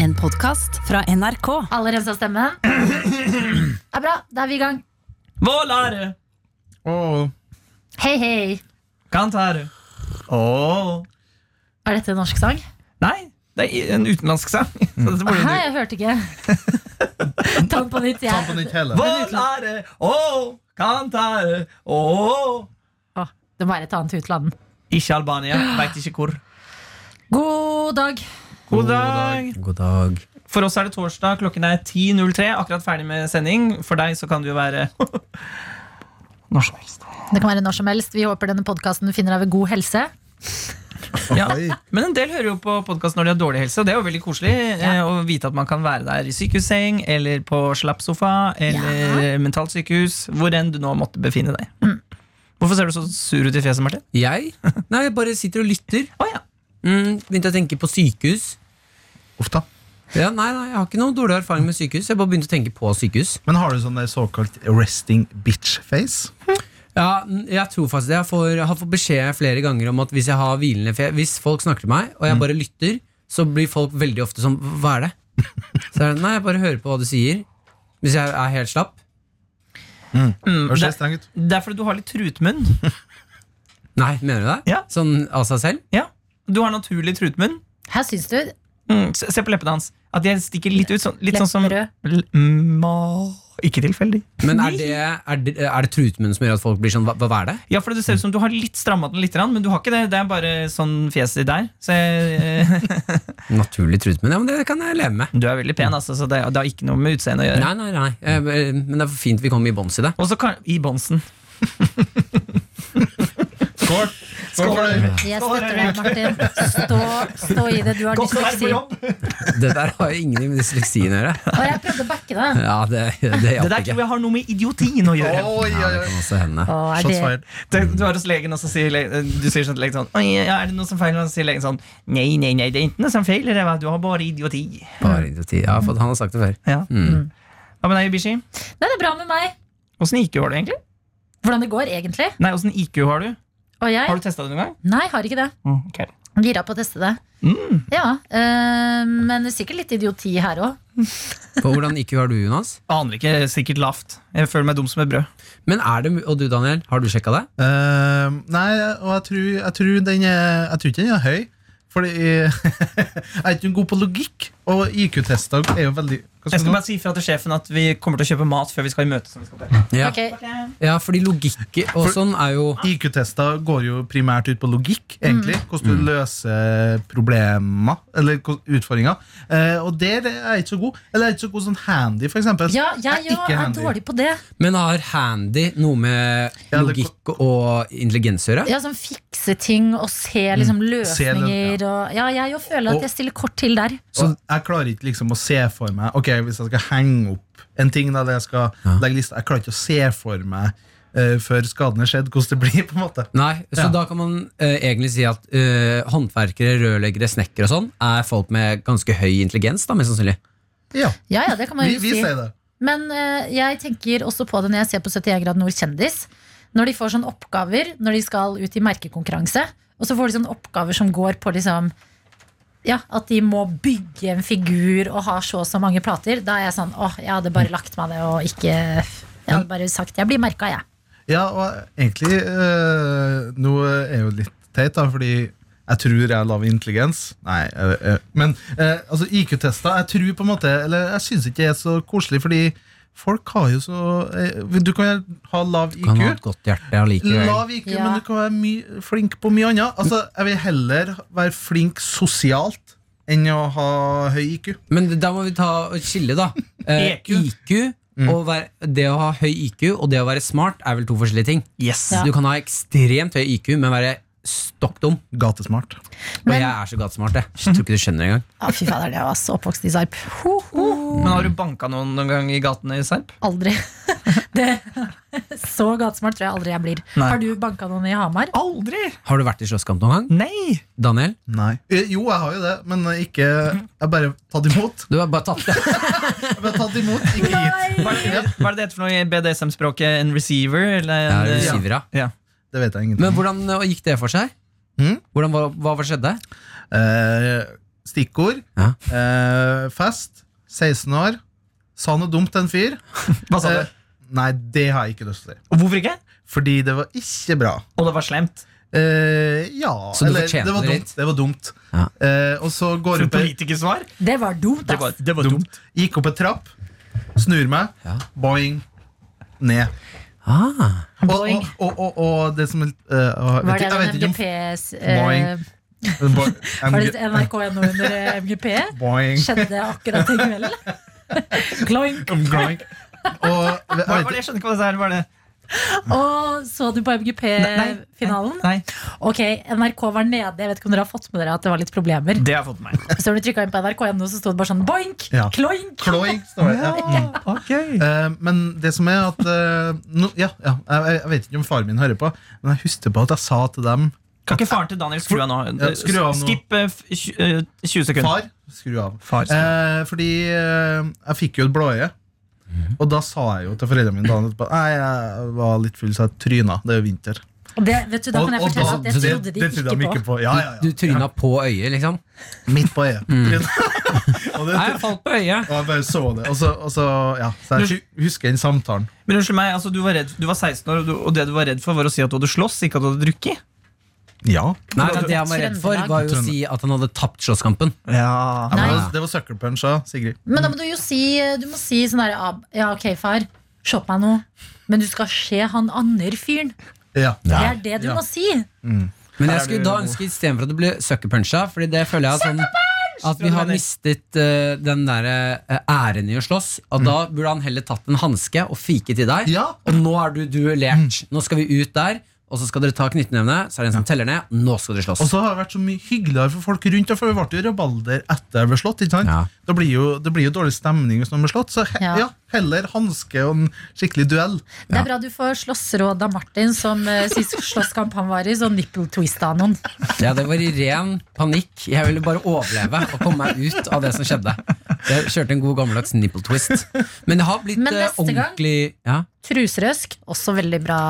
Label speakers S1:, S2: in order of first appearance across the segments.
S1: En podkast fra NRK.
S2: Alle rensa stemmen? Det er bra, da er vi i gang.
S3: Vår lærer
S4: Åh,
S2: Hei, hei.
S3: kan tære. Åh.
S2: Er dette en norsk sang?
S3: Nei, det er en utenlandsk sang. Så dette blir en
S2: Hei, jeg hørte ikke. Ta den på nytt.
S4: ta den på
S2: Jeg.
S4: nytt hele.
S3: Vår lærer Åh, kan tære. Åh.
S2: Å, det må være et annet utland.
S3: Ikke Albania, veit ikke hvor.
S2: God dag.
S3: God dag.
S4: God dag.
S3: For oss er det torsdag, klokken er 10.03. Akkurat ferdig med sending. For deg så kan det jo være når som helst.
S2: Det kan være når som helst. Vi håper denne podkasten finner deg ved god helse.
S3: Ja.
S4: Oi.
S3: Men en del hører jo på podkast når de har dårlig helse, og det er jo veldig koselig eh, å vite at man kan være der i sykehusseng eller på slappsofa eller mentalt sykehus, hvor enn du nå måtte befinne deg. Hvorfor ser du så sur ut i fjeset, Martin?
S5: Jeg? Nei, jeg bare sitter og lytter.
S3: Å ja.
S5: Mm, begynte å tenke på sykehus.
S4: Uff da.
S5: Ja, nei, nei, Jeg har ikke noe dårlig erfaring med sykehus. Jeg bare begynte å tenke på sykehus.
S4: Men har du sånn der såkalt resting bitch-face?
S5: Ja, mm, Jeg tror faktisk det. Jeg, får, jeg har fått beskjed flere ganger om at hvis jeg har hvilende fe Hvis folk snakker til meg,
S3: Mm.
S5: og jeg bare lytter, så blir folk veldig ofte sånn Hva er det? Så jeg, Nei, jeg bare hører på hva du sier. Hvis jeg er helt slapp.
S4: Høres
S3: det-
S4: det streng ut?
S3: Det er fordi du har litt trutmunn.
S5: Nei, mener du det?
S3: Ja.
S5: Sånn av seg selv?
S3: Ja. Du har naturlig trutmunn.
S2: Her syns du
S3: Mm, se se på leppene hans. At de stikker litt ut. Sånn, litt sånn som
S2: Lepperød.
S3: L- Ma... Ikke tilfeldig.
S5: Men er det, er det, er det trutmunnen som gjør at folk blir sånn Hva, hva er det?
S3: Ja, for det ser ut som du har litt stramma den litt, grann, men du har ikke det. Det er bare sånn fjeset ditt der. Så jeg, eh,
S5: Naturlig trutmunn? Ja, men det kan jeg leve med.
S3: du er veldig pen, altså, så det, det har ikke noe med utseendet å gjøre.
S5: Nei, nei, nei. Eh, Men det er fint vi kommer i bånds i det.
S3: Og så kan I Bonsen.
S4: Skål! Skål for deg.
S2: Jeg støtter deg, Martin. Stå, stå i det. Du har dysleksi. Og
S5: Det der har jo ingenting med dysleksien å gjøre.
S2: jeg prøvde å backe deg.
S5: Ja, Det,
S3: Det
S5: det hjalp
S3: der tror
S5: ikke.
S3: jeg har noe med idiotien å gjøre.
S4: Oi,
S5: Ja,
S4: oi,
S5: det
S4: oi.
S5: kan også hende.
S2: Å, er
S4: Shots
S2: det
S4: fired.
S3: Tenk, Du er hos legen, og så sier le- du sier sånn, til legen sånn Oi, ja, er det noe som feiler? Og så sier legen sånn Nei, nei, nei, det er ikke noe som feiler. det var- Du har bare idioti.
S5: Bare idioti. Ja, for han har sagt det før.
S3: Ja.
S5: Mm.
S3: Hva med deg, Bishi?
S2: Nei, det er bra med meg.
S3: Åssen IQ har du egentlig?
S2: Hvordan det går, egentlig.
S3: Nei, åssen IQ har du?
S2: Og jeg?
S3: Har du testa det noen gang?
S2: Nei, har ikke det.
S3: Mm, ok.
S2: Gira på å teste det.
S4: Mm.
S2: Ja, eh, Men sikkert litt idioti her òg.
S5: På hvordan IQ har du, Jonas?
S3: Aner ikke. Sikkert lavt. Jeg føler meg dum som et brød.
S5: Men er det, mu- Og du, Daniel, har du sjekka det?
S4: Eh, nei, og jeg tror, jeg tror den er Jeg tror ikke den er høy. Fordi jeg, jeg er ikke god på logikk, og IQ-tester er jo veldig hva
S3: Jeg
S4: skal
S3: skal
S4: man
S3: bare si fra til sjefen at vi kommer til å kjøpe mat før vi skal i møte. Som vi skal på.
S5: Ja,
S2: Ok,
S5: ja fordi logikk og sånn er jo
S4: si? IQ-tester går jo primært ut på logikk, egentlig. Hvordan du løser problemer eller hvor- utfordringer. Eh, og der er jeg ikke så god. Eller jeg er ikke så god sånn handy, for eksempel.
S2: Ja, jeg
S4: Jeg er
S2: jo
S4: ikke
S2: er
S4: handy.
S2: dårlig på det.
S5: Men har handy noe med
S4: Ja, det-
S5: logikk og intelligens å gjøre?
S2: Ja, sånn Fikse ting og se liksom
S4: Mm. Se den,
S2: løsninger og Ja, jeg jo føler at
S4: Og-
S2: jeg stiller kort til der.
S4: Så jeg klarer ikke liksom å se for meg Ok, Hvis jeg skal henge opp en ting da, eller jeg skal
S5: Ja.
S4: legge lista, Jeg klarer ikke å se for meg eh, før skaden er skjedd, hvordan det blir. på en måte
S5: Nei, så
S4: Ja.
S5: da kan man eh, egentlig si at eh, håndverkere, rørleggere, snekkere og sånn er folk med ganske høy intelligens, da, mest sannsynlig.
S4: Ja,
S2: Ja, ja, det kan man
S4: Vi,
S2: jo
S4: vi
S2: si.
S4: sier det.
S2: Men eh, jeg tenker også på det når jeg ser på 71 grader nord kjendis. Når de får sånne oppgaver når de skal ut i merkekonkurranse, og så får de sånne oppgaver som går på liksom ja, At de må bygge en figur og ha så og så mange plater. Da er jeg sånn åh, jeg hadde
S4: Mm.
S2: bare lagt meg ned og ikke Jeg hadde bare sagt jeg blir merka, jeg.
S4: Ja, og egentlig eh, Nå er jo litt teit, da, fordi jeg tror jeg har lav intelligens. Nei, eh, eh, men eh, altså IQ-tester Jeg tror på en måte Eller jeg syns ikke det er så koselig, fordi folk har jo så eh, Du kan ha lav IQ.
S5: Kan ha et godt hjerte allikevel.
S4: Lav IQ,
S2: Ja.
S4: men du kan være my flink på mye annet. Altså, jeg vil heller være flink sosialt enn å ha høy IQ.
S5: Men da må vi ta og skille, da. Eh,
S3: EQ.
S5: IQ og være, det å ha høy IQ og det å være smart er vel to forskjellige ting.
S3: Yes.
S2: Ja.
S5: Du kan ha ekstremt høy IQ, men være stokk dum.
S4: Gatesmart.
S5: Og
S2: Men-
S5: jeg er så gatesmart, jeg. Så Tror ikke du skjønner engang.
S2: Ja, fy fader, det var altså oppvokst i Sarp. Ho, ho.
S3: Men har du banka noen noen gang i gatene i Serp?
S2: Aldri. Det, så gatesmart tror jeg aldri jeg blir.
S3: Nei.
S2: Har du banka noen i Hamar?
S3: Aldri!
S5: Har du vært i slåsskamp noen gang?
S3: Nei!
S5: Daniel?
S4: Nei. Eh, Jo, jeg har jo det, men ikke Jeg har bare tatt imot.
S5: Du har bare tatt det.
S4: Jeg har bare tatt imot, ikke gitt.
S3: Hva er det hva er det det heter for noe i BDSM-språket? En receiver? Eller
S5: Ja,
S3: en,
S5: receiver, ja.
S3: ja.
S4: Det vet jeg
S5: Men
S4: ingenting om.
S5: hvordan eh, gikk det for seg?
S4: Mm.
S5: Hvordan, hva, hva skjedde?
S4: Eh, Stikkord
S5: Ja.
S4: eh, fest, 16 år, sa noe dumt en fyr.
S3: Hva sa
S4: Eh,
S3: du?
S4: nei, det har jeg ikke lyst til.
S3: Og hvorfor ikke?
S4: Fordi det var ikke bra.
S3: Og det var slemt.
S4: Eh, ja
S5: Så du fortjente
S4: det var
S5: det
S4: dumt.
S5: litt?
S4: Det var dumt.
S5: Ja.
S4: Eh, og så
S3: For
S4: går jeg
S3: et
S4: opp, ei-
S3: politikersvar?
S2: Det var dumt,
S3: Det
S2: ass.
S3: var, det var dumt.
S4: gikk opp en trapp, snur meg,
S5: Ja.
S4: boing, ned.
S5: Ah.
S4: Og,
S2: Boing.
S4: og, og, og, og det som eh,
S2: Var
S4: og- vet
S2: det
S4: ikke- jeg vet
S2: den
S4: ikke om-
S2: MGPs
S4: Boing.
S2: eh,
S4: Bo-
S2: Var det NRK1 under eh, MGP?
S4: Boing.
S2: Skjedde akkurat den kvelden? Kloink.
S4: Og jeg
S3: Hva
S4: vet
S3: var det? Jeg skjønner ikke hva det er. Var det?
S2: Og så du på MGP-finalen?
S3: Nei,
S2: Ok, NRK var nede. Jeg vet ikke om dere har fått med dere at det var litt problemer.
S3: det har jeg fått med meg.
S2: Så når du trykka inn på NRK1, så sto det bare sånn boink!
S4: Ja.
S2: Kloink!
S4: Kloing, står det. Ja. Mm. Eh, men det som er at eh, nå- ja, ja, jeg, jeg vet ikke om faren min hører på, men jeg husker på at jeg sa til dem
S3: Kan ikke faren til Daniel skru av nå?
S4: Ja, skru av nå.
S3: Skip eh, f- tj- eh, 20 sekunder.
S4: Far, skru av.
S3: Far, skru
S4: Eh, fordi eh, jeg fikk jo et blåøye.
S3: Mhm.
S4: Og da sa jeg jo til foreldrene mine dagen etterpå Nei, jeg var litt full, så jeg tryna. Det er jo vinter.
S2: Og Det, vet du, da
S4: Og-
S2: kan jeg
S4: og
S2: fortelle
S4: da-
S2: at det trodde de
S4: trodde
S2: ikke på.
S4: Ja, ja,
S5: Du
S4: ja.
S5: tryna på øyet, liksom?
S4: Midt på øyet. Mm. og det,
S5: Nei, jeg falt på øyet.
S4: og jeg bare så det. Og så, og så ja. Så jeg husker den samtalen.
S3: Men unnskyld meg, altså, du, var redd, du var 16 år, og, du, og det du var redd for, var å si at du hadde slåss, ikke at du hadde drukket.
S4: Ja.
S5: Nei, men Det han var redd for, var jo å si at han hadde tapt slåsskampen.
S3: Ja.
S4: men
S2: Nei.
S4: det- Det var sucker punch, da, Sigrid.
S2: Men da må du jo si, du må si sånn derre Ja, ok, far. Se på meg nå. Men du skal se han andre fyren.
S4: Ja.
S2: Det er det du
S4: Ja.
S2: må si.
S5: Men
S3: Her
S5: jeg
S3: er
S5: skulle
S3: du
S5: da
S3: god.
S5: ønske istedenfor at du ble suckerpuncha, Fordi det føler jeg er sånn at vi har mistet eh, den derre eh, æren i å slåss. Og da
S3: Mm.
S5: burde han heller tatt en hanske og fiket i deg.
S4: Ja.
S5: Og nå er du duellert.
S3: Mm.
S5: Nå skal vi ut der, og så skal dere ta knyttnevene. Så er det en som teller ned. Nå skal dere slåss.
S4: Og så har det vært så mye hyggeligere for folk rundt. For vi ble jo rabalder etter jeg ble slått. ikke sant?
S5: Ja.
S4: Da blir jo, det blir jo dårlig stemning hvis noen blir slått. Så he, ja.
S2: Ja.
S4: heller hanske og en skikkelig duell.
S2: Det er bra du får slåssråd av Martin, som eh, sist slåsskamp han var i, så nipple twista noen.
S5: Ja, det var i ren panikk. Jeg ville bare overleve og komme meg ut av det som skjedde. Jeg kjørte en god gammeldags nipple twist. Men det har blitt
S2: Men
S5: eh,
S2: neste gang-
S5: ordentlig ja,
S2: Truserøsk, også veldig bra.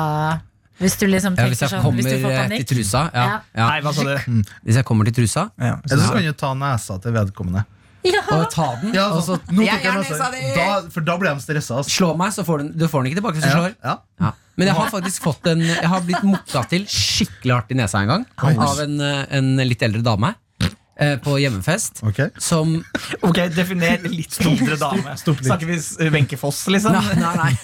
S2: Hvis du liksom
S5: ja,
S2: tenker
S5: Hvis jeg
S2: sånn,
S5: kommer
S2: hvis du får
S5: eh, til
S2: panikk.
S5: trusa ja,
S2: Ja.
S5: ja.
S3: Nei, hva sa du?
S5: Hvis jeg kommer til trusa
S3: Ja.
S4: Eller så kan du ta nesa til vedkommende.
S2: Ja,
S5: og ta den,
S4: Ja,
S5: og
S4: så,
S2: Altså,
S5: så
S4: nå
S5: altså, Jeg
S4: tok jeg
S5: er
S4: nesa.
S5: nesa di!
S4: Da, for da blir de stressa. Altså.
S5: slå meg, så får den, du får den ikke tilbake hvis du
S4: Ja.
S5: slår.
S4: Ja.
S5: Ja. Men jeg har faktisk fått en Jeg har blitt mokka til skikkelig hardt i nesa en gang av en, eh, en litt eldre dame eh, på hjemmefest.
S4: Ok.
S5: Som
S3: Ok, definer litt stumpere dame.
S4: Stump litt.
S3: Snakker vi s- Wenche Foss, liksom?
S5: Nei, nei, nei.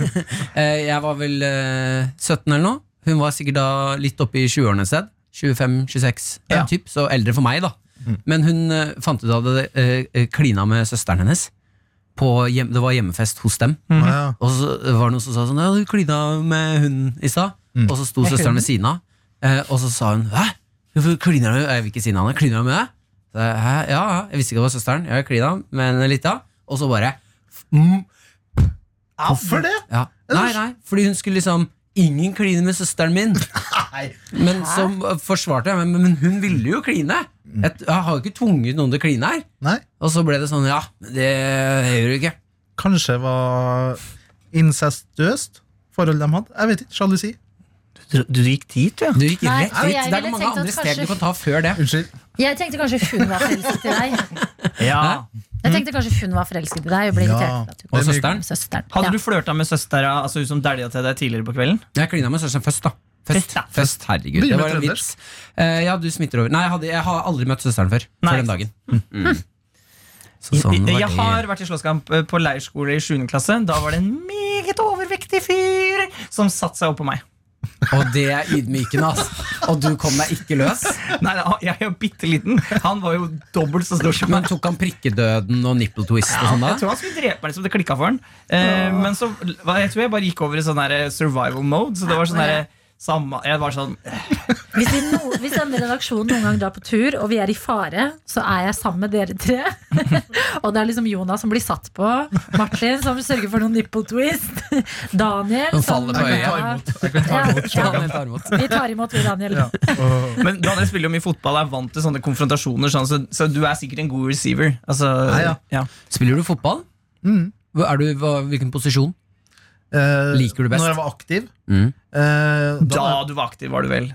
S5: Eh, Jeg var vel eh, 17 eller noe. Hun var sikkert da litt oppe i 20-årene et sted. 25-26,
S3: Ja.
S5: typ, så eldre for meg, da. Men hun eh, fant ut at det eh, klina med søsteren hennes. På hjem, det var hjemmefest hos dem.
S4: Ja.
S5: Og så var det noen som sa sånn Ja, du klina med hunden i stad.
S2: Mm.
S5: Og så sto søsteren ved siden av, eh, og så sa hun Hæ? Hvorfor kliner du Jeg vil ikke si navnet. Kliner du med deg? Så jeg, Hæ? Ja, ja. Jeg visste ikke det var søsteren. Jeg klina med henne litt da. Og så bare mm,
S4: Hvorfor det?
S5: ja. Nei, nei, fordi hun skulle liksom Ingen kline med søsteren min.
S4: Nei.
S5: Men så forsvarte jeg men, men hun ville jo kline!
S2: Mm.
S5: Jeg, jeg har jo ikke tvunget noen til å kline her.
S4: Nei.
S5: Og så ble det sånn, ja, men det gjør du ikke.
S4: Kanskje var incestuøst forhold de hadde. Jeg vet ikke. Sjalusi.
S3: Du, gikk dit, ja?
S5: Du gikk
S2: Nei,
S5: rett
S2: og
S5: dit.
S2: jeg
S5: Det er
S2: ville
S5: mange
S2: tenkt at
S5: andre steg
S2: kanskje-
S5: du kan ta før det.
S4: Unnskyld.
S2: jeg tenkte kanskje hun var forelsket i deg.
S3: ja.
S2: Jeg tenkte kanskje hun var forelsket i deg og ble
S4: Ja.
S2: irritert. for at du
S5: Og
S2: kom.
S5: søsteren.
S2: Søsteren.
S3: Hadde
S2: ja.
S3: du flørta med søstera altså hun som dælja til deg tidligere på kvelden?
S5: Jeg klina med søsteren først, sånn da.
S3: Først, da.
S5: først, herregud, det
S4: Begynner med
S5: var en vits.
S4: trøndersk.
S5: Eh, ja, du smitter over. Nei, jeg, hadde, jeg har aldri møtt søsteren før.
S3: Nei. Mm.
S5: Før den dagen. Mm. Så sånn
S3: jeg
S5: var det.
S3: har vært i slåsskamp eh, på leirskole i 7. klasse. Da var det en meget overvektig fyr som satte seg opp på meg.
S5: Og det er ydmykende, altså. Og du kom deg ikke løs.
S3: Nei, nei, Jeg er jo bitte liten. Han var jo dobbelt så stor som meg.
S5: Men tok han prikkedøden og nipple twist og sånn da?
S3: Jeg tror han skulle drepe meg, liksom. Det klikka for han. Eh, men så hva- Jeg tror jeg bare gikk over i sånn her survival mode. Så det var sånn her, samme, Jeg var sånn
S2: Hvis, vi no, hvis denne redaksjonen noen gang drar på tur, og vi er i fare, så er jeg sammen med dere tre. og det er liksom Jonas som blir satt på, Martin som sørger for noen nipple twist, Daniel
S5: Som
S2: som
S5: faller på øyet.
S2: Ja.
S5: Ja,
S2: Ja,
S5: men tar imot.
S2: ja. Vi tar imot, vi, Daniel.
S4: Ja. Og-
S3: Men Daniel spiller jo mye fotball og er vant til sånne konfrontasjoner, sånn, så, så du er sikkert en god receiver. Altså,
S4: Ja, ja.
S5: Spiller du fotball?
S4: Mm.
S5: Hva- Er du, hva, hvilken posisjon?
S4: Eh,
S5: Liker du best?
S4: Når jeg var aktiv.
S5: Mm.
S4: eh, da var jeg-
S3: Da du var aktiv, var du vel.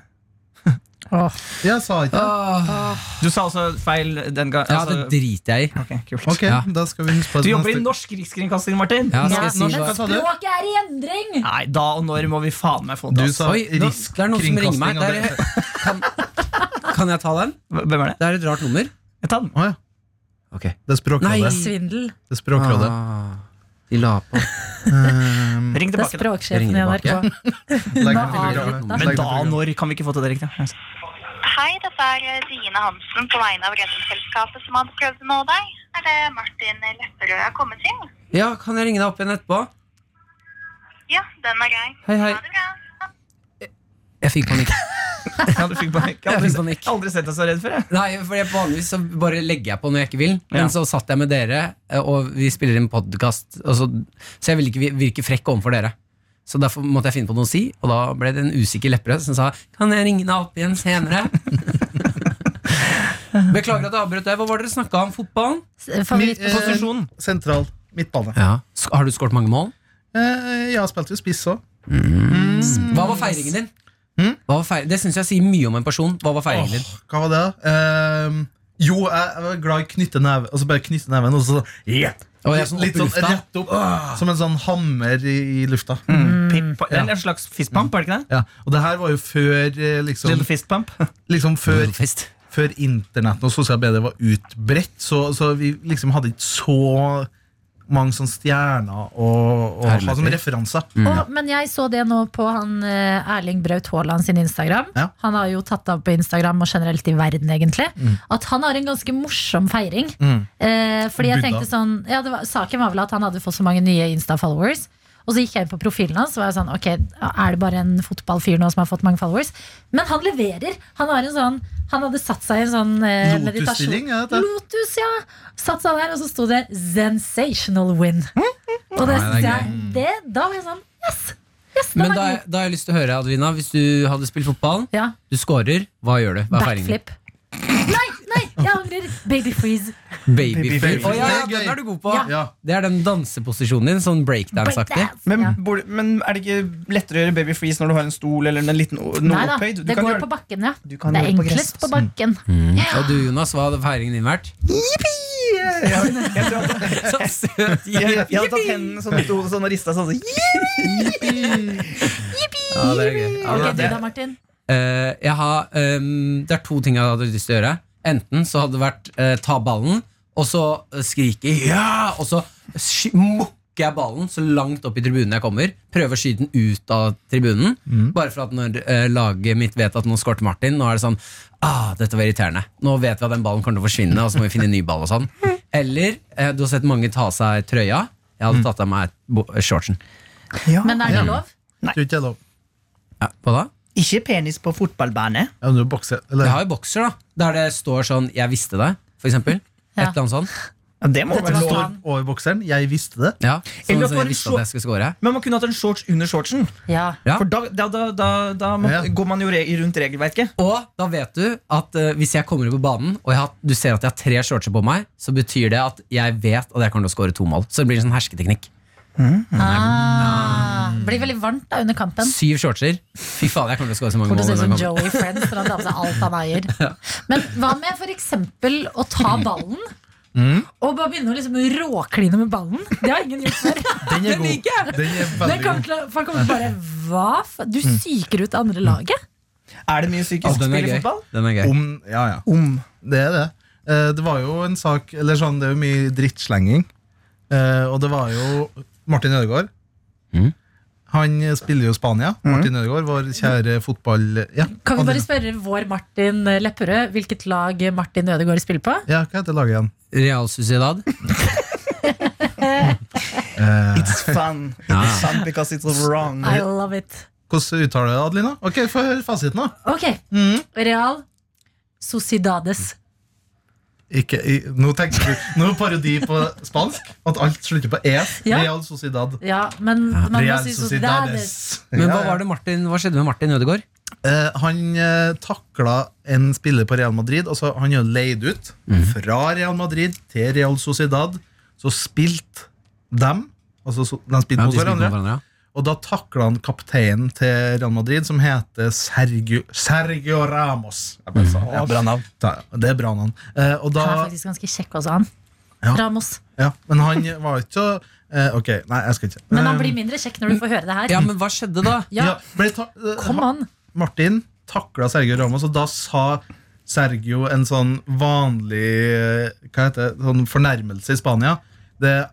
S2: Åh.
S4: Jeg sa ikke det.
S3: Du sa altså feil den gangen.
S5: Ja,
S3: Altså,
S5: det driter jeg i.
S3: ok, kult.
S4: Ok,
S5: Ja.
S4: da skal vi huske på
S3: Du
S4: det
S3: jobber i
S4: neste
S3: norsk rikskringkasting, Martin.
S5: Ja, skal
S2: Ja,
S5: jeg si
S4: norsk-
S5: hva?
S4: Hva sa du?
S2: Språket er i endring!
S3: Nei, da og når må vi faen meg få det.
S4: Du
S3: ass.
S4: sa
S5: Oi, nå,
S4: risk
S5: det er noen som ringer meg.
S4: kringkasting, og
S5: Det er, kan, kan jeg ta den?
S3: Hvem er det?
S5: Det er et rart nummer.
S3: Jeg tar den.
S4: Å ja. Det er Språkrådet.
S5: Nei.
S2: Svindel.
S4: Det er språkrådet.
S5: Ah, de la på.
S4: Um,
S3: Ring
S2: Det er
S3: tilbake. da.
S2: språksjefen i
S5: Jeg ringer
S2: NRK. Nå
S4: legg den
S2: har
S4: til
S2: vi
S4: programmet.
S2: den.
S4: Legg
S3: Men
S4: den til
S3: da og
S4: programmet.
S3: når kan vi ikke få til det riktig?
S6: Hei, dette er Dine Hansen på vegne av Redningsselskapet som hadde prøvd å nå deg. Er det Martin Lepperød jeg har kommet til?
S5: Ja, kan jeg ringe deg opp igjen etterpå?
S6: Ja, den er grei.
S5: Hei, hei.
S6: Ha det bra.
S5: Jeg fikk panikk.
S3: Ja, du fikk panikk. Jeg har
S5: Jeg fikk
S3: aldri,
S5: panikk.
S3: aldri sett deg så redd før. Jeg.
S5: Nei, for jeg- vanligvis så bare legger jeg på når jeg ikke vil. Men
S3: Ja.
S5: så satt jeg med dere, eh, og vi spiller inn podkast, så, så jeg ville ikke vi- virke frekk overfor dere. Så derfor måtte jeg finne på noe å si, og da ble det en usikker lepperød som sa Kan jeg ringe deg opp igjen senere? Beklager at jeg avbrøt deg. Hva var det dere snakka om? Fotballen?
S4: Mi- eh,
S2: Favorittposisjon.
S4: Sentral. Midtbane.
S5: Sk- Har du skåret mange mål?
S4: Eh, jeg har spilt jo spiss òg.
S5: Hva var feiringen din?
S4: Mm?
S5: Hva var feir det syns jeg sier mye om en person. Hva var feiringen din?
S4: Hva var det, da? Eh, jo, jeg, jeg var glad i knytte neve, altså bare knytte neven, og så yeah.
S5: Og jeg som
S4: litt
S5: opp i
S4: sånn
S5: lufta.
S4: rett opp, som en sånn hammer i, i lufta.
S5: Mm.
S2: Mm.
S3: Pip, det er en slags fistpump, er det ikke det?
S4: Ja, og det her var jo før eh, liksom,
S3: Little fistpump.
S4: liksom før,
S5: Fest.
S4: før internetten og sosiale medier var utbredt, så, så vi liksom hadde ikke så mange sånne stjerner å å ha som
S5: Herligheter.
S4: referanser.
S5: Mm.
S2: Og, men jeg så det nå på han eh, Erling Braut Haaland sin Instagram.
S4: Ja.
S2: Han har jo tatt av på Instagram og generelt i verden, egentlig. At han har en ganske morsom feiring.
S4: Mm.
S2: Eh, fordi jeg
S4: Buddha.
S2: tenkte sånn ja, det var, Saken var vel at han hadde fått så mange nye Insta-followers. Og så gikk jeg inn på profilen hans. Og var jeg sånn, ok, Er det bare en fotballfyr nå som har fått mange followers? Men han leverer! Han, har en sånn, han hadde satt seg i en sånn eh, meditasjon.
S4: Lotus-stilling, er dette?
S2: Lotus, ja! Satt seg der, og så sto det 'Sensational win'. Og det,
S5: Nei, det er
S2: det, det, da var jeg sånn Yes! yes den
S5: Men
S2: er
S5: da,
S2: god.
S5: da har jeg lyst til å høre, Adelina, hvis du hadde spilt fotball,
S2: Ja,
S5: du scorer, hva gjør du? Hva er feiringen din?
S2: backflip. Nei, nei, jeg angrer! Baby freeze.
S5: Babyflip.
S4: Babyflip.
S5: Å, ja, ja,
S4: Det er gøy.
S5: den er du god på.
S4: Ja.
S5: Det er den danseposisjonen din, sånn breakdance-aktig.
S2: Breakdance. Ja.
S3: bor- men er det ikke lettere å gjøre baby freeze når du har en stol eller en liten o- noe
S2: Nei da,
S3: opphøyd? Du
S2: det
S3: kan
S2: går
S3: gjøre-
S2: på bakken, ja.
S3: Du kan
S2: Det er
S3: gjøre det på
S2: enklest
S3: gress.
S2: på bakken.
S5: Og du, Jonas, hva hadde feiringen din vært?
S3: Jeg- jeg tror at-
S5: Så søt.
S3: jeg- jeg hadde tatt hendene sånn ut til hodet sånn og rista sånn. så-
S5: Ja, det er gøy. Ja,
S2: Ok,
S5: det
S2: du
S5: er
S2: da,
S5: gøy.
S2: Martin.
S5: Eh, jeg har, ehm, det er to ting jeg hadde lyst til å gjøre. Enten så hadde det vært eh, ta ballen, og så eh, skrike ja, og så sky- mokker jeg ballen så langt opp i tribunen jeg kommer. Prøver å skyte den ut av tribunen. Bare for at når eh, laget mitt vet at nå skåret Martin, nå er det sånn ah, dette var irriterende. Nå vet vi at den ballen kommer til å forsvinne, og så må vi finne en ny ball og sånn. Eller eh, du har sett mange ta av seg trøya. Jeg hadde tatt av meg bo- shortsen.
S2: Men er det lov?
S4: Tror ikke jeg lov.
S5: Ja, hva da?
S3: Ikke penis på fotballbane.
S4: Ja, men du er bokser, eller?
S5: Jeg har jo bokser, da. Der det står sånn 'Jeg visste det', for eksempel. Et
S2: Ja.
S5: eller annet sånt.
S3: Ja, det må
S2: Det
S3: være
S2: tror jeg.
S4: Det
S3: lov.
S4: står over bokseren. Jeg visste det.
S5: Ja, sånn
S3: Eller at
S5: som
S3: man
S5: jeg visste
S3: så-
S5: at jeg skulle score.
S3: Men man kunne hatt en shorts under shortsen.
S2: Ja.
S5: Ja.
S3: For da, da, da, da, da må,
S4: Ja.
S3: går man jo re rundt regelverket.
S5: Og da vet du at eh, hvis jeg kommer ut på banen og jeg har, du ser at jeg har tre shortser på meg, så betyr det at jeg vet at jeg kommer til å score to mål. Så det blir en sånn hersketeknikk.
S2: Ah, blir veldig varmt da under kampen.
S5: Syv shortser. Fy faen, jeg kommer til å score så mange
S2: Hvor det
S5: mål.
S2: ser ut som
S5: denne kampen.
S2: Joey Friends når han tar på seg alt han eier. Men hva med for eksempel å ta ballen
S5: Mm.
S2: og bare begynne å liksom råkline med ballen? Det har ingen gjort før.
S4: Den er god.
S2: liker jeg.
S4: Den er
S2: Det
S4: veldig
S2: kommer
S4: god.
S2: til å, folk kommer til å bare Hva? fa- Du
S4: Mm.
S2: psyker ut det andre laget?
S3: Er det mye
S5: Ja,
S3: psykisk
S5: den
S3: spill
S5: er
S3: i
S5: gøy.
S3: fotball?
S5: Den er gøy.
S4: Om, ja, ja.
S3: Om.
S4: Det er det. Eh, Det var jo en sak Eller sånn, det er jo mye drittslenging. Eh, Og det var jo Martin Ødegaard.
S2: Mm.
S5: Mhm.
S4: Han spiller jo Spania. Martin Ødegaard, vår kjære fotball... Ja,
S2: Kan vi bare
S4: Adelina.
S2: spørre vår Martin Lepperød hvilket lag Martin Ødegaard spiller på?
S4: ja, hva heter laget igjen?
S5: Real Sociedad.
S4: Eh,
S3: It's fun.
S5: Ja.
S3: It's fun because it's wrong.
S2: I love it.
S4: hvordan uttaler du det, Adelina? Ok, Få høre fasiten, da.
S2: Ok,
S4: Mm.
S2: Real Sociedades.
S4: Ikke, i, nå tenker du Nå er parodi på spansk. At alt slutter på es.
S2: Ja.
S4: Real Sociedad.
S2: Ja, men man må
S4: Real
S2: si
S4: Sociedades.
S2: Sociedades.
S5: Men hva,
S4: Ja, ja.
S5: var det Martin, hva skjedde med Martin Ødegaard?
S4: Eh, han eh, takla en spiller på Real Madrid. Altså, han er jo leid ut fra Real Madrid til Real Sociedad. Så spilte dem altså, så, De spilte
S5: Ja, de spilte
S4: mot
S5: mot
S4: hverandre.
S5: hverandre, ja.
S4: Og da takla han kapteinen til Real Madrid, som heter Sergio, Sergio Ramos. Jeg bare sa, ja.
S3: bra navn.
S4: Ta- Det er bra navn. Eh, og da,
S2: Han er faktisk ganske kjekk også, han.
S4: Ja.
S2: Ramos.
S4: ja, men han var ikke så eh, Ok, nei, jeg skal ikke.
S2: Men han
S4: Eh,
S2: blir mindre kjekk når du får høre det her.
S5: Ja, men hva skjedde da?
S2: Ja,
S4: ja, ble ta, eh,
S2: Kom an!
S4: Martin takla Sergio Ramos, og da sa Sergio en sånn vanlig eh, Hva heter det? Sånn fornærmelse i Spania. Det,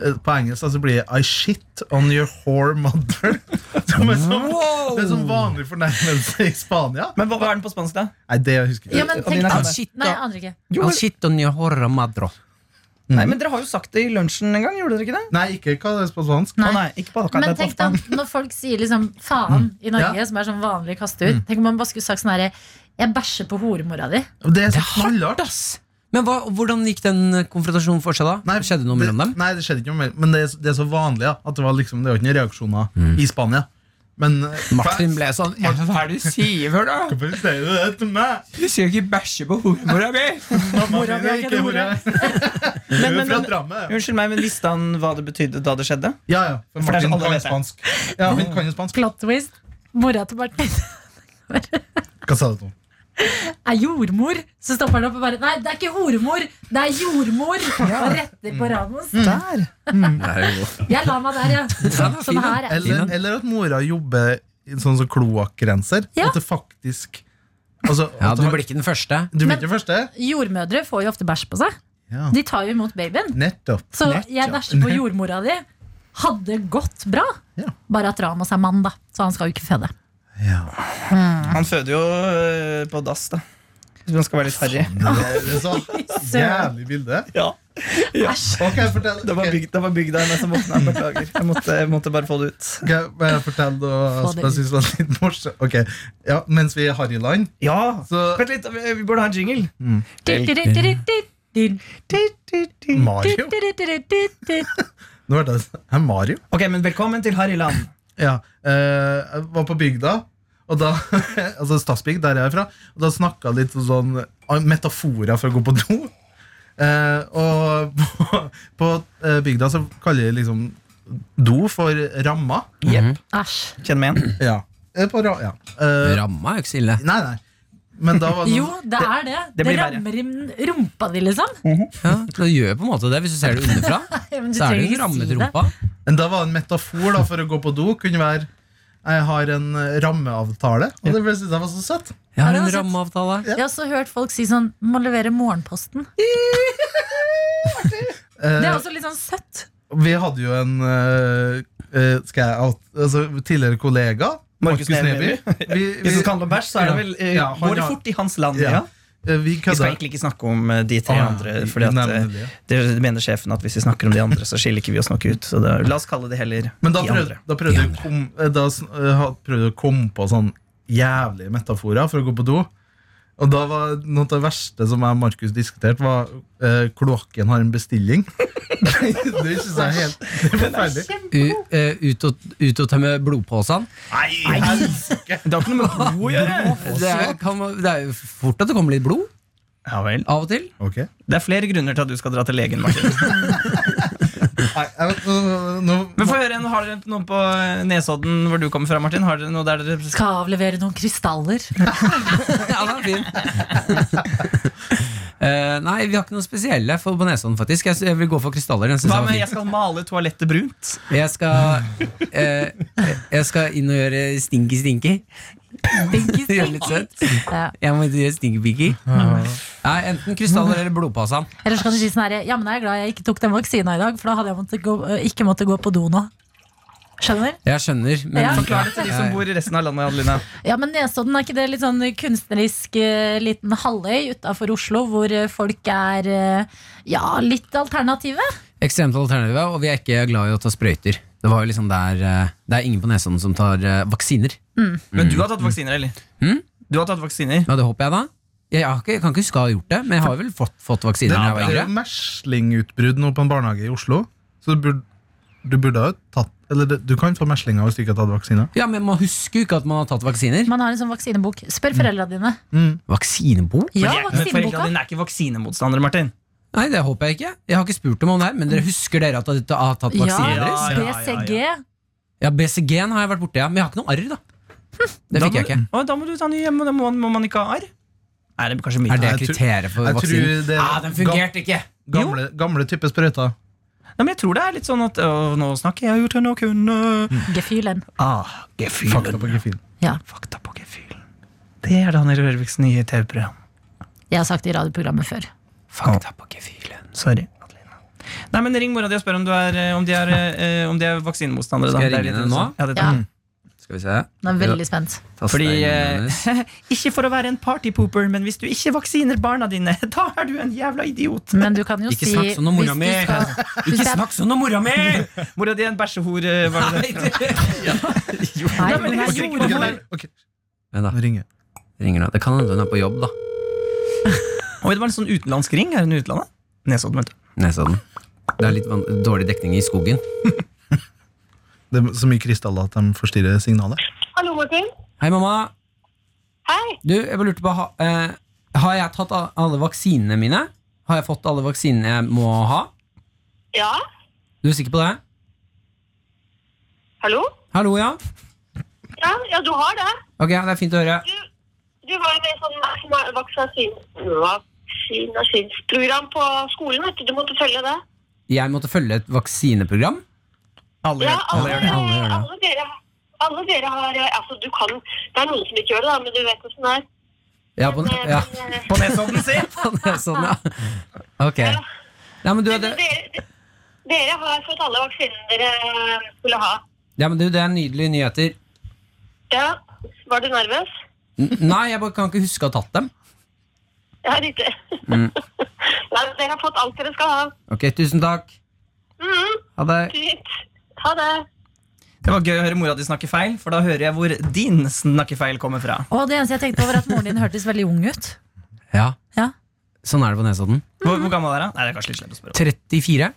S4: eh, på engelsk da, så blir det I shit on your whore mother. Som er sånn, Det er sånn vanlig fornærmelse i Spania.
S3: Men hva, hva er den på spansk, da?
S4: Nei, det husker jeg
S2: Ja,
S4: ikke.
S2: men
S3: Og
S2: tenk
S3: dine
S2: da.
S3: tenner.
S5: Shit,
S2: Nei, jeg
S5: da.
S2: aner ikke.
S3: Jo,
S5: Al
S3: men-
S5: sitto ni horra madro.
S3: Nei,
S7: Mm.
S3: men Dere har jo sagt det i lunsjen en gang, gjorde dere ikke det?
S4: Nei, ikke hva det er på spansk.
S3: Å,
S2: Nei.
S3: nei, ikke på akkurat
S2: Men
S3: det,
S2: tenk
S3: på
S2: da,
S3: aften.
S2: når folk sier liksom faen i Norge,
S4: Ja. Mm.
S2: som er sånn vanlig å kaste ut Tenk om man bare skulle sagt sånn herre Jeg bæsjer på horemora di.
S4: Og Det er så knallhardt.
S5: Ass. Men hva, hvordan gikk den konfrontasjonen for seg da?
S4: Nei,
S5: Skjedde noe mellom dem?
S4: Det, nei, det skjedde ikke noe mellom Men det er, det er så vanlig ja, at det var liksom Det var ikke noen reaksjoner i Spania. Men eh,
S5: Mm. Martin ble sånn
S7: Martin, hva er det du sier for noe?
S4: Hvorfor sier du det til meg?
S7: Du sier jo ikke bæsje på horemora mi!
S4: Mamma
S3: Mora
S4: mi
S3: mi
S4: er
S3: er
S4: ikke
S3: ikke
S4: mora.
S3: Men,
S4: Hun er
S3: men,
S4: fra
S3: men,
S4: Drammen.
S3: unnskyld meg, men visste han hva det betydde da det skjedde?
S4: Ja, ja. For
S3: For det er så
S4: Martin
S3: alle
S4: kan
S3: vet
S4: jo
S3: det.
S4: spansk. Ja, hun kan jo spansk.
S2: Plot twist. Mora til Martin
S4: Hva sa du, Tom?
S2: er jordmor. Så stopper han opp og bare Nei, det er ikke horemor, det er jordmor! Og retter på Ramos.
S7: Mm.
S3: Der.
S2: Jeg la meg der, ja. Sånn her er
S4: Eller, eller at mora jobber i en sånn som kloakkrenser.
S2: Ja.
S4: At det faktisk altså,
S5: Ja,
S4: at
S5: du
S4: har-
S5: blir ikke den første.
S4: du blir
S2: Men-
S4: ikke første?
S2: Jordmødre får jo ofte bæsj på seg.
S4: Ja.
S2: De tar jo imot babyen.
S4: Nettopp.
S2: Så
S4: Nett,
S2: jeg
S4: ja.
S2: bæsjer på jordmora di. Hadde gått bra.
S4: Ja.
S2: Bare at Ramos er mann, da. Så han skal jo ikke føde.
S3: Han føder jo øh, på dass, da. Hvis man skal være litt harry.
S4: Det er så jævlig bilde.
S3: Ja.
S2: Æsj.
S4: Ok, fortell
S3: Det var
S4: ok,
S3: bygd- det var bygda hennes som våkna. Beklager. Jeg måtte, jeg måtte bare få det ut.
S4: ok, bare Fortell noe
S2: Få
S4: som
S2: det
S4: jeg synes var litt morsomt. Ok, ja, Mens vi er i Harryland
S3: Ja!
S4: Så-
S3: Vent litt, vi vi burde ha en jingle.
S4: Mario? Nå er det er Mario.
S3: Ok, men Velkommen til Harryland.
S4: Ja, eh, jeg var på bygda Og da, altså Stadsbygd, der jeg er fra Og da snakket jeg litt om sånn ah, Metaforer for å gå på do Eh, Og på, på eh, bygda så kaller jeg liksom Do for ramma
S3: Jepp.
S2: Æsj.
S3: Kjenn meg igjen.
S4: Ja, Eh, på ra ja. Eh,
S5: Ramma er jo ikke så ille.
S4: Nei, nei Men da var det
S2: Jo,
S4: sånn
S2: det er det.
S3: det
S2: Det,
S3: blir verre.
S2: rammer i rumpa di, liksom.
S5: Ja, du gjør på en måte det hvis du ser det underfra.
S2: Ja, men du
S5: Så er
S2: trenger
S5: det jo en
S2: ikke si
S5: rammet
S2: det.
S5: rumpa.
S4: Men da var det en metafor da for å gå på do Kunne være Jeg har en eh, rammeavtale Og det ble- synes jeg var så søtt
S5: Jeg
S2: Ja,
S5: har
S2: det
S5: en
S2: var søtt.
S5: rammeavtale.
S2: Jeg har også hørt folk si sånn Må levere morgenposten.
S4: Eh,
S2: Det er også litt sånn søtt.
S4: Vi hadde jo en øh, øh, skal jeg out, altså, tidligere kollega, Markus
S3: Markus
S4: Neby.
S3: Neby.
S4: Vi, vi,
S3: Hvis det handler om bæsj, så er det vel eh,
S4: Ja, han
S3: går det
S4: har-
S3: fort i hans land.
S4: Ja.
S3: Ja.
S4: øh, vi
S3: Vi skal
S4: kødda.
S3: egentlig ikke snakke om eh, de tre
S4: Ah,
S3: andre. Fordi at eh,
S4: nemlig.
S3: det mener sjefen at hvis vi snakker om de andre, så skiller ikke vi oss nok ut. Så da, la oss kalle det heller
S4: Men da
S3: de
S4: prøvde,
S3: andre.
S4: da prøvde, jeg å kom, eh, da, sn- eh, ha- prøvde jeg å komme på sånn jævlige metaforer for å gå på do. Og da var noe av det verste som jeg og Markus diskuterte, var eh, kloakken har en bestilling. det synes jeg er helt det er forferdelig.
S5: U- eh, Ut og- ut og tømme blodpåsene.
S4: Nei, helsike!
S3: Det har ikke noe med blod å gjøre.
S5: Det er, kan, det er jo fort at det kommer litt blod
S3: Ja vel.
S5: av og til.
S4: Ok.
S3: Det er flere grunner til at du skal dra til legen. Martin
S4: Nei, jeg, nå- nå-
S3: Men få høre, en- Har dere noen på eh, Nesodden hvor du kommer fra, Martin? Har dere noe der dere
S2: Skal avlevere noen krystaller.
S5: Ja, den er fin. Eh, nei, vi har ikke noe spesielle for på Nesodden, faktisk. Jeg, jeg vil gå for krystaller. Den synes
S3: Hva
S5: jeg var
S3: med
S5: fin.
S3: jeg skal male toalettet brunt?
S5: Jeg skal, eh, jeg skal inn og gjøre stinky-stinky.
S2: Stinky,
S5: Det er
S2: stinky.
S5: litt søtt.
S2: Ja.
S5: Jeg må gjøre stinky-pinky. Nei, Enten krystaller eller blodpåsan.
S2: Eller så kan du si sånn her Ja, men jeg er glad jeg ikke tok den vaksina i dag, for da hadde jeg måttet gå, eh, ikke måttet gå på do nå. Skjønner?
S5: Jeg skjønner, men
S2: Ja.
S3: Forklar det til de som bor i resten av landet. Adelina
S2: Ja, men Nesodden, er ikke det litt sånn kunstnerisk eh, liten halvøy utafor Oslo, hvor eh, folk er eh, ja, litt alternative?
S5: Ekstremt alternative, og vi er ikke glad i å ta sprøyter. Det var jo liksom der eh, Det er ingen på Nesodden som tar eh, vaksiner.
S3: Men du har tatt vaksiner, eller?
S5: Mm.
S3: Du har tatt vaksiner
S5: Ja, det håper jeg, da. Jeg, har ikke, jeg kan ikke huske å ha gjort det, men jeg har vel fått, fått vaksiner.
S4: Det
S5: da jeg var
S4: er jo
S5: yngre.
S4: meslingutbrudd nå på en barnehage i Oslo. Så du burde, du burde ha tatt Eller det- du kan få meslinger hvis du ikke har tatt vaksine.
S5: Ja, men Man husker jo ikke at man har tatt vaksiner.
S2: Man har en sånn vaksinebok. Spør foreldra dine.
S4: Mm.
S5: Vaksinebok?
S2: Ja,
S3: Men jeg- men Foreldrene
S2: vaksineboka.
S3: dine er ikke vaksinemotstandere, Martin.
S5: Nei, det håper jeg ikke. Jeg har ikke spurt dem om det her, men dere husker dere at dere har tatt
S2: Ja,
S3: Ja,
S5: vaksiner?
S3: ja, ja, ja.
S2: BCG.
S5: Ja, BCG-en har jeg vært borte, ja. Men jeg har ikke noe arr, da. Det fikk jeg ikke.
S3: Å, da må du ta ny hjemme, da må, må man ikke ha arr? Er det kanskje mye?
S5: Er det
S4: Jeg tror-
S5: kriteriet for
S4: Jeg tror eh,
S5: vaksinen?
S4: det er
S5: Ah, den fungerte ikke!
S4: ga- gamle, gamle type sprøyter.
S3: Nei, men jeg tror det er litt sånn at å, nå snakker jeg ut til noen kunne
S5: Mm.
S2: Gefühlen.
S3: ah,
S4: Fakta
S3: Gefühlen.
S4: på gefühlen.
S3: Fakta på gefühlen. Det er det han Erik Rørviks nye TV-program.
S2: Jeg har sagt det i radioprogrammet før.
S3: Fakta på gefühlen. Sorry. Adelina. Nei, men Ring mora di og spør om, du er, eh, om, de er, eh, om de er vaksinemotstandere. da.
S5: Skal jeg
S3: Det er
S5: ringe
S3: litt
S5: henne nå?
S3: sånn. Ja, det
S2: Ja,
S3: tar.
S5: Skal vi se.
S2: Nå er jeg veldig spent.
S3: Fordi, eh, ikke for å være en partypooper, men hvis du ikke vaksiner barna dine, da er du en jævla idiot.
S2: Men du kan jo
S5: Ikke
S2: si
S5: snakk sånn om mora
S2: hvis du
S5: mi!
S2: skal- hvis
S5: Ikke
S2: det er-
S5: snakk sånn om mora mi!
S3: Mora di er en bæsjehore. var det det?
S2: Nei,
S3: men
S2: hun er
S3: jeg-
S4: Ok,
S2: jordmor.
S4: nei, ok,
S5: Vent da,
S4: nå ringer jeg.
S5: ringer nå. Det kan hende hun er på jobb, da.
S3: Oi, det var en sånn utenlandsk ring. Er hun i utlandet? Nesodden, vet du.
S5: Nesodden. Det er litt van dårlig dekning i skogen.
S4: Det er så mye krystaller at de forstyrrer signalet.
S6: Hallo, Martin.
S5: Hei, mamma.
S6: Hei.
S5: Du, jeg bare lurte på ha, eh, Har jeg tatt a- alle vaksinene mine? Har jeg fått alle vaksinene jeg må ha?
S6: Ja.
S5: Du er sikker på det?
S6: Hallo?
S5: Hallo, ja?
S6: Ja, ja du har det.
S5: Ok, det er fint å høre.
S6: Du, du var jo med i sånn vaksina- vaksin- vaksinasjonsprogram på skolen, vet du. Du måtte følge det.
S5: Jeg måtte følge et vaksineprogram.
S3: Alle,
S6: Ja,
S3: gjør- alle
S6: alle,
S3: gjør det.
S5: alle gjør det.
S6: alle dere alle dere har eh, Altså, du kan Det er noen som ikke gjør det, da, men du vet åssen det er.
S5: Ja, på,
S6: Men,
S5: ja.
S6: men, eh,
S3: På Nesodden, si!
S5: på Nesodden, ja. Ok. Ja, men du,
S6: men
S5: det,
S6: dere, dere har fått alle vaksinene dere eh, skulle ha.
S5: ja, men du, det er nydelige nyheter.
S6: Ja. Var du nervøs?
S5: N nei, jeg bare kan ikke huske å ha tatt dem.
S6: Ja, riktig. Nei, dere har fått alt dere skal ha.
S5: Ok, tusen takk.
S8: Mm-hmm.
S6: Mhm,
S5: Ha det.
S6: fint. Ha det.
S3: Det var gøy å høre mora di snakke feil, for da hører jeg hvor din snakkefeil kommer fra.
S2: Og det eneste jeg tenkte på, var at moren din hørtes veldig ung ut.
S5: Ja,
S2: Ja,
S5: sånn er det på Nesodden.
S3: Hvor, hvor gammel er hun? Nei, det er kanskje litt slemt å spørre.
S5: 34?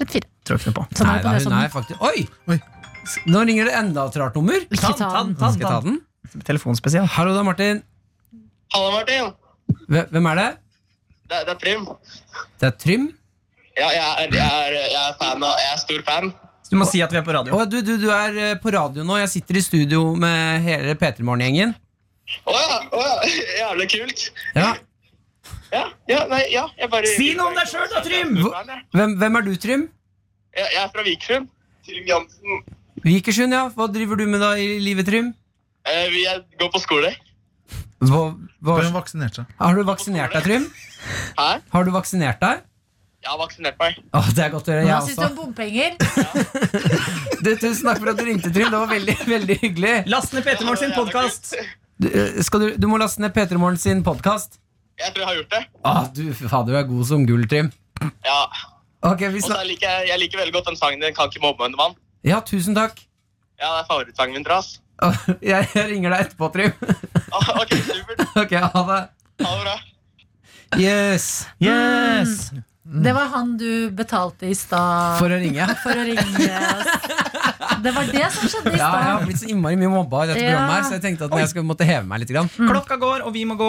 S2: 34.
S3: om. Tror ikke noe på.
S2: Sånn er det på
S5: da, hun
S2: Nesodden.
S5: er faktisk Oi!
S4: Oi.
S5: S- Nå ringer det enda et rart nummer.
S2: Ikke ta den.
S5: Skal jeg ta den?
S3: Telefonspesial.
S5: Hallo, det er Martin.
S8: Hallo, Martin.
S5: Hve- Hvem er det?
S8: Det, det er Prim.
S5: Det er Trym.
S8: Ja, jeg er, jeg er, jeg er, fan av, jeg er stor fan.
S3: Du må si at vi er på radio.
S5: Å, du, du, du er eh, på radio nå. Jeg sitter i studio med hele P3 Morgen-gjengen.
S8: Å ja, å ja, jævlig kult.
S5: Ja.
S8: Ja, ja, nei, ja, jeg bare...
S3: Si noe om deg sjøl, da, Trym!
S8: Jeg er stor fan, jeg.
S5: Hvem, hvem er du, Trym?
S8: Jeg, jeg er fra Vikersund. Trym Jansen.
S5: Vikersund, ja. Hva driver du med da i livet, Trym?
S8: Eh, vi- jeg går på skole.
S5: Hva, hva,
S4: Bare hun vaksinert seg.
S5: har du vaksinert deg, Trym?
S8: Hæ?
S5: Har du vaksinert deg?
S8: Jeg har vaksinert meg.
S5: Å, det er godt å høre.
S2: Hva
S5: Jeg
S2: syns du om
S5: også.
S2: bompenger?
S5: Du, tusen takk for at du ringte, Trym. Det var veldig, veldig hyggelig.
S3: Last ned Peter Morgen sin podkast!
S5: Du, eh, skal du, du må laste ned P3 Morgen sin podkast.
S8: Jeg tror jeg har gjort det.
S5: Å, du, fader, du er god som gull, Trym.
S8: Ja.
S5: Ok, vi
S8: Og så
S5: snak...
S8: liker jeg, jeg liker veldig godt den sangen din, Kan ikke mobbe en mann.
S5: Ja, tusen takk.
S8: Ja, det er favorittsangen min, trass.
S5: Å, Jeg, jeg ringer deg etterpå, Trym.
S8: Ah, ok, supert.
S5: Ok, ha det.
S8: Ha det bra.
S5: Yes.
S2: Mm.
S3: Yes!
S2: Det var han du betalte i stad
S5: For å ringe.
S2: for å ringe oss. Det var det som skjedde i
S5: Ja, jeg
S2: stad.
S5: har blitt så innmari mye mobba i dette
S2: Ja.
S5: programmet, her, så jeg tenkte at jeg skal måtte heve meg litt. Grann.
S4: Mm.
S3: Klokka går, og vi må gå.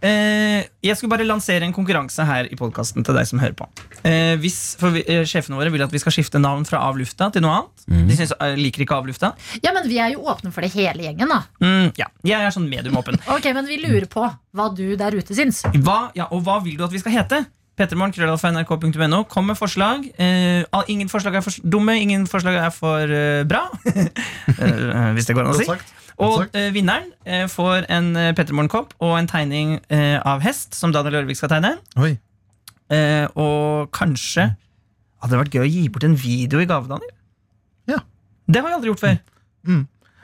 S3: Eh, jeg skulle bare lansere en konkurranse her i podkasten til deg som hører på. Eh, hvis, for vi, eh, Sjefene våre vil at vi skal skifte navn fra Av lufta til noe annet.
S4: Mm.
S3: De synes, eh, liker ikke Av lufta.
S2: Ja, men vi er jo åpne for det hele gjengen, da.
S3: Mm, ja. Jeg er sånn medium åpen.
S2: Ok, Men vi lurer på hva du der ute syns.
S3: Hva, ja, og hva vil du at vi skal hete? Petermorgen.nrk.no. Kom med forslag. Eh, al- ingen forslag er for s- dumme, ingen forslag er for eh, bra. Eh, hvis det går an å
S4: Godt
S3: si.
S4: sagt.
S3: Og
S4: sagt.
S3: eh, vinneren eh, får en eh, Petermorgen-kopp og en tegning eh, av hest, som Daniel Ørvik skal tegne.
S4: Oi.
S3: Eh, og kanskje hadde det vært gøy å gi bort en video i gave, Daniel.
S4: Ja.
S3: Det har jeg aldri gjort før.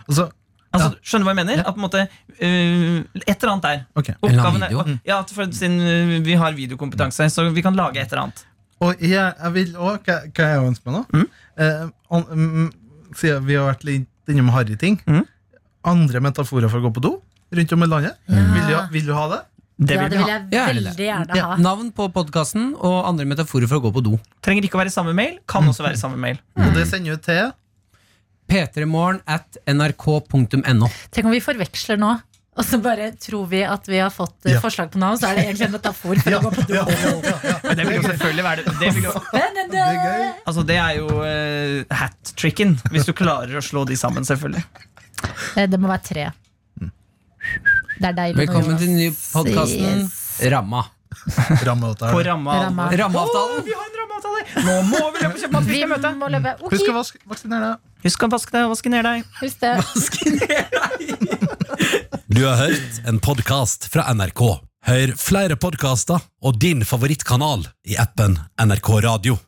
S4: Altså,
S3: Altså, Skjønner du hva jeg mener? At på en måte, eh, et eller annet der.
S4: ok.
S5: En eller annen
S3: Oppgaven er-
S5: video.
S3: Ja, at for, siden eh, vi har videokompetanse, så vi kan lage et eller annet.
S4: Og jeg, jeg vil òg Hva hva jeg ønsker meg nå?
S3: Mm.
S4: Eh, an, mm, siden vi har vært litt innom harryting.
S3: Mm.
S4: Andre metaforer for å gå på do rundt om i landet. Vil, du, ha- vil du ha det?
S3: Det
S2: Ja,
S3: vil
S2: det vil
S3: vi ha.
S2: jeg
S5: Ja, eller det.
S2: veldig gjerne
S5: Ja,
S2: ha.
S5: navn på podkasten og andre metaforer for å gå på do.
S3: Trenger ikke å være i samme mail. Kan også være i samme mail.
S4: Og det sender du til
S5: p3morgen at nrk.no.
S2: Tenk om vi forveksler nå Og så bare tror vi at vi har fått eh,
S4: Ja.
S2: forslag på navn, så er det egentlig en metafor for å gå på do.
S4: Ja, ja, ja, ja.
S3: Men det vil jo selvfølgelig være det. det vil jo,
S4: Det er gøy.
S3: altså, det er jo eh, hat-tricken, hvis du klarer å slå de sammen, selvfølgelig.
S2: Eh, Det må være tre. Det er deilig. når
S9: Velkommen
S2: Jonas
S9: til den nye podkasten
S2: sies.
S9: Ramma.
S4: Rammeavtale.
S3: På ramma.
S2: Ramma.
S3: Rammeavtalen! vi har en rammeavtale! Nå må vi løpe og kjøpe mat!
S2: Vi må løpe. Ok,
S4: Husk å vaske, vaksinere deg.
S3: Husk å vaske deg og vaske ned deg.
S2: husk det.
S5: Du har hørt en podkast fra NRK. Hør flere podkaster og din favorittkanal i appen NRK Radio.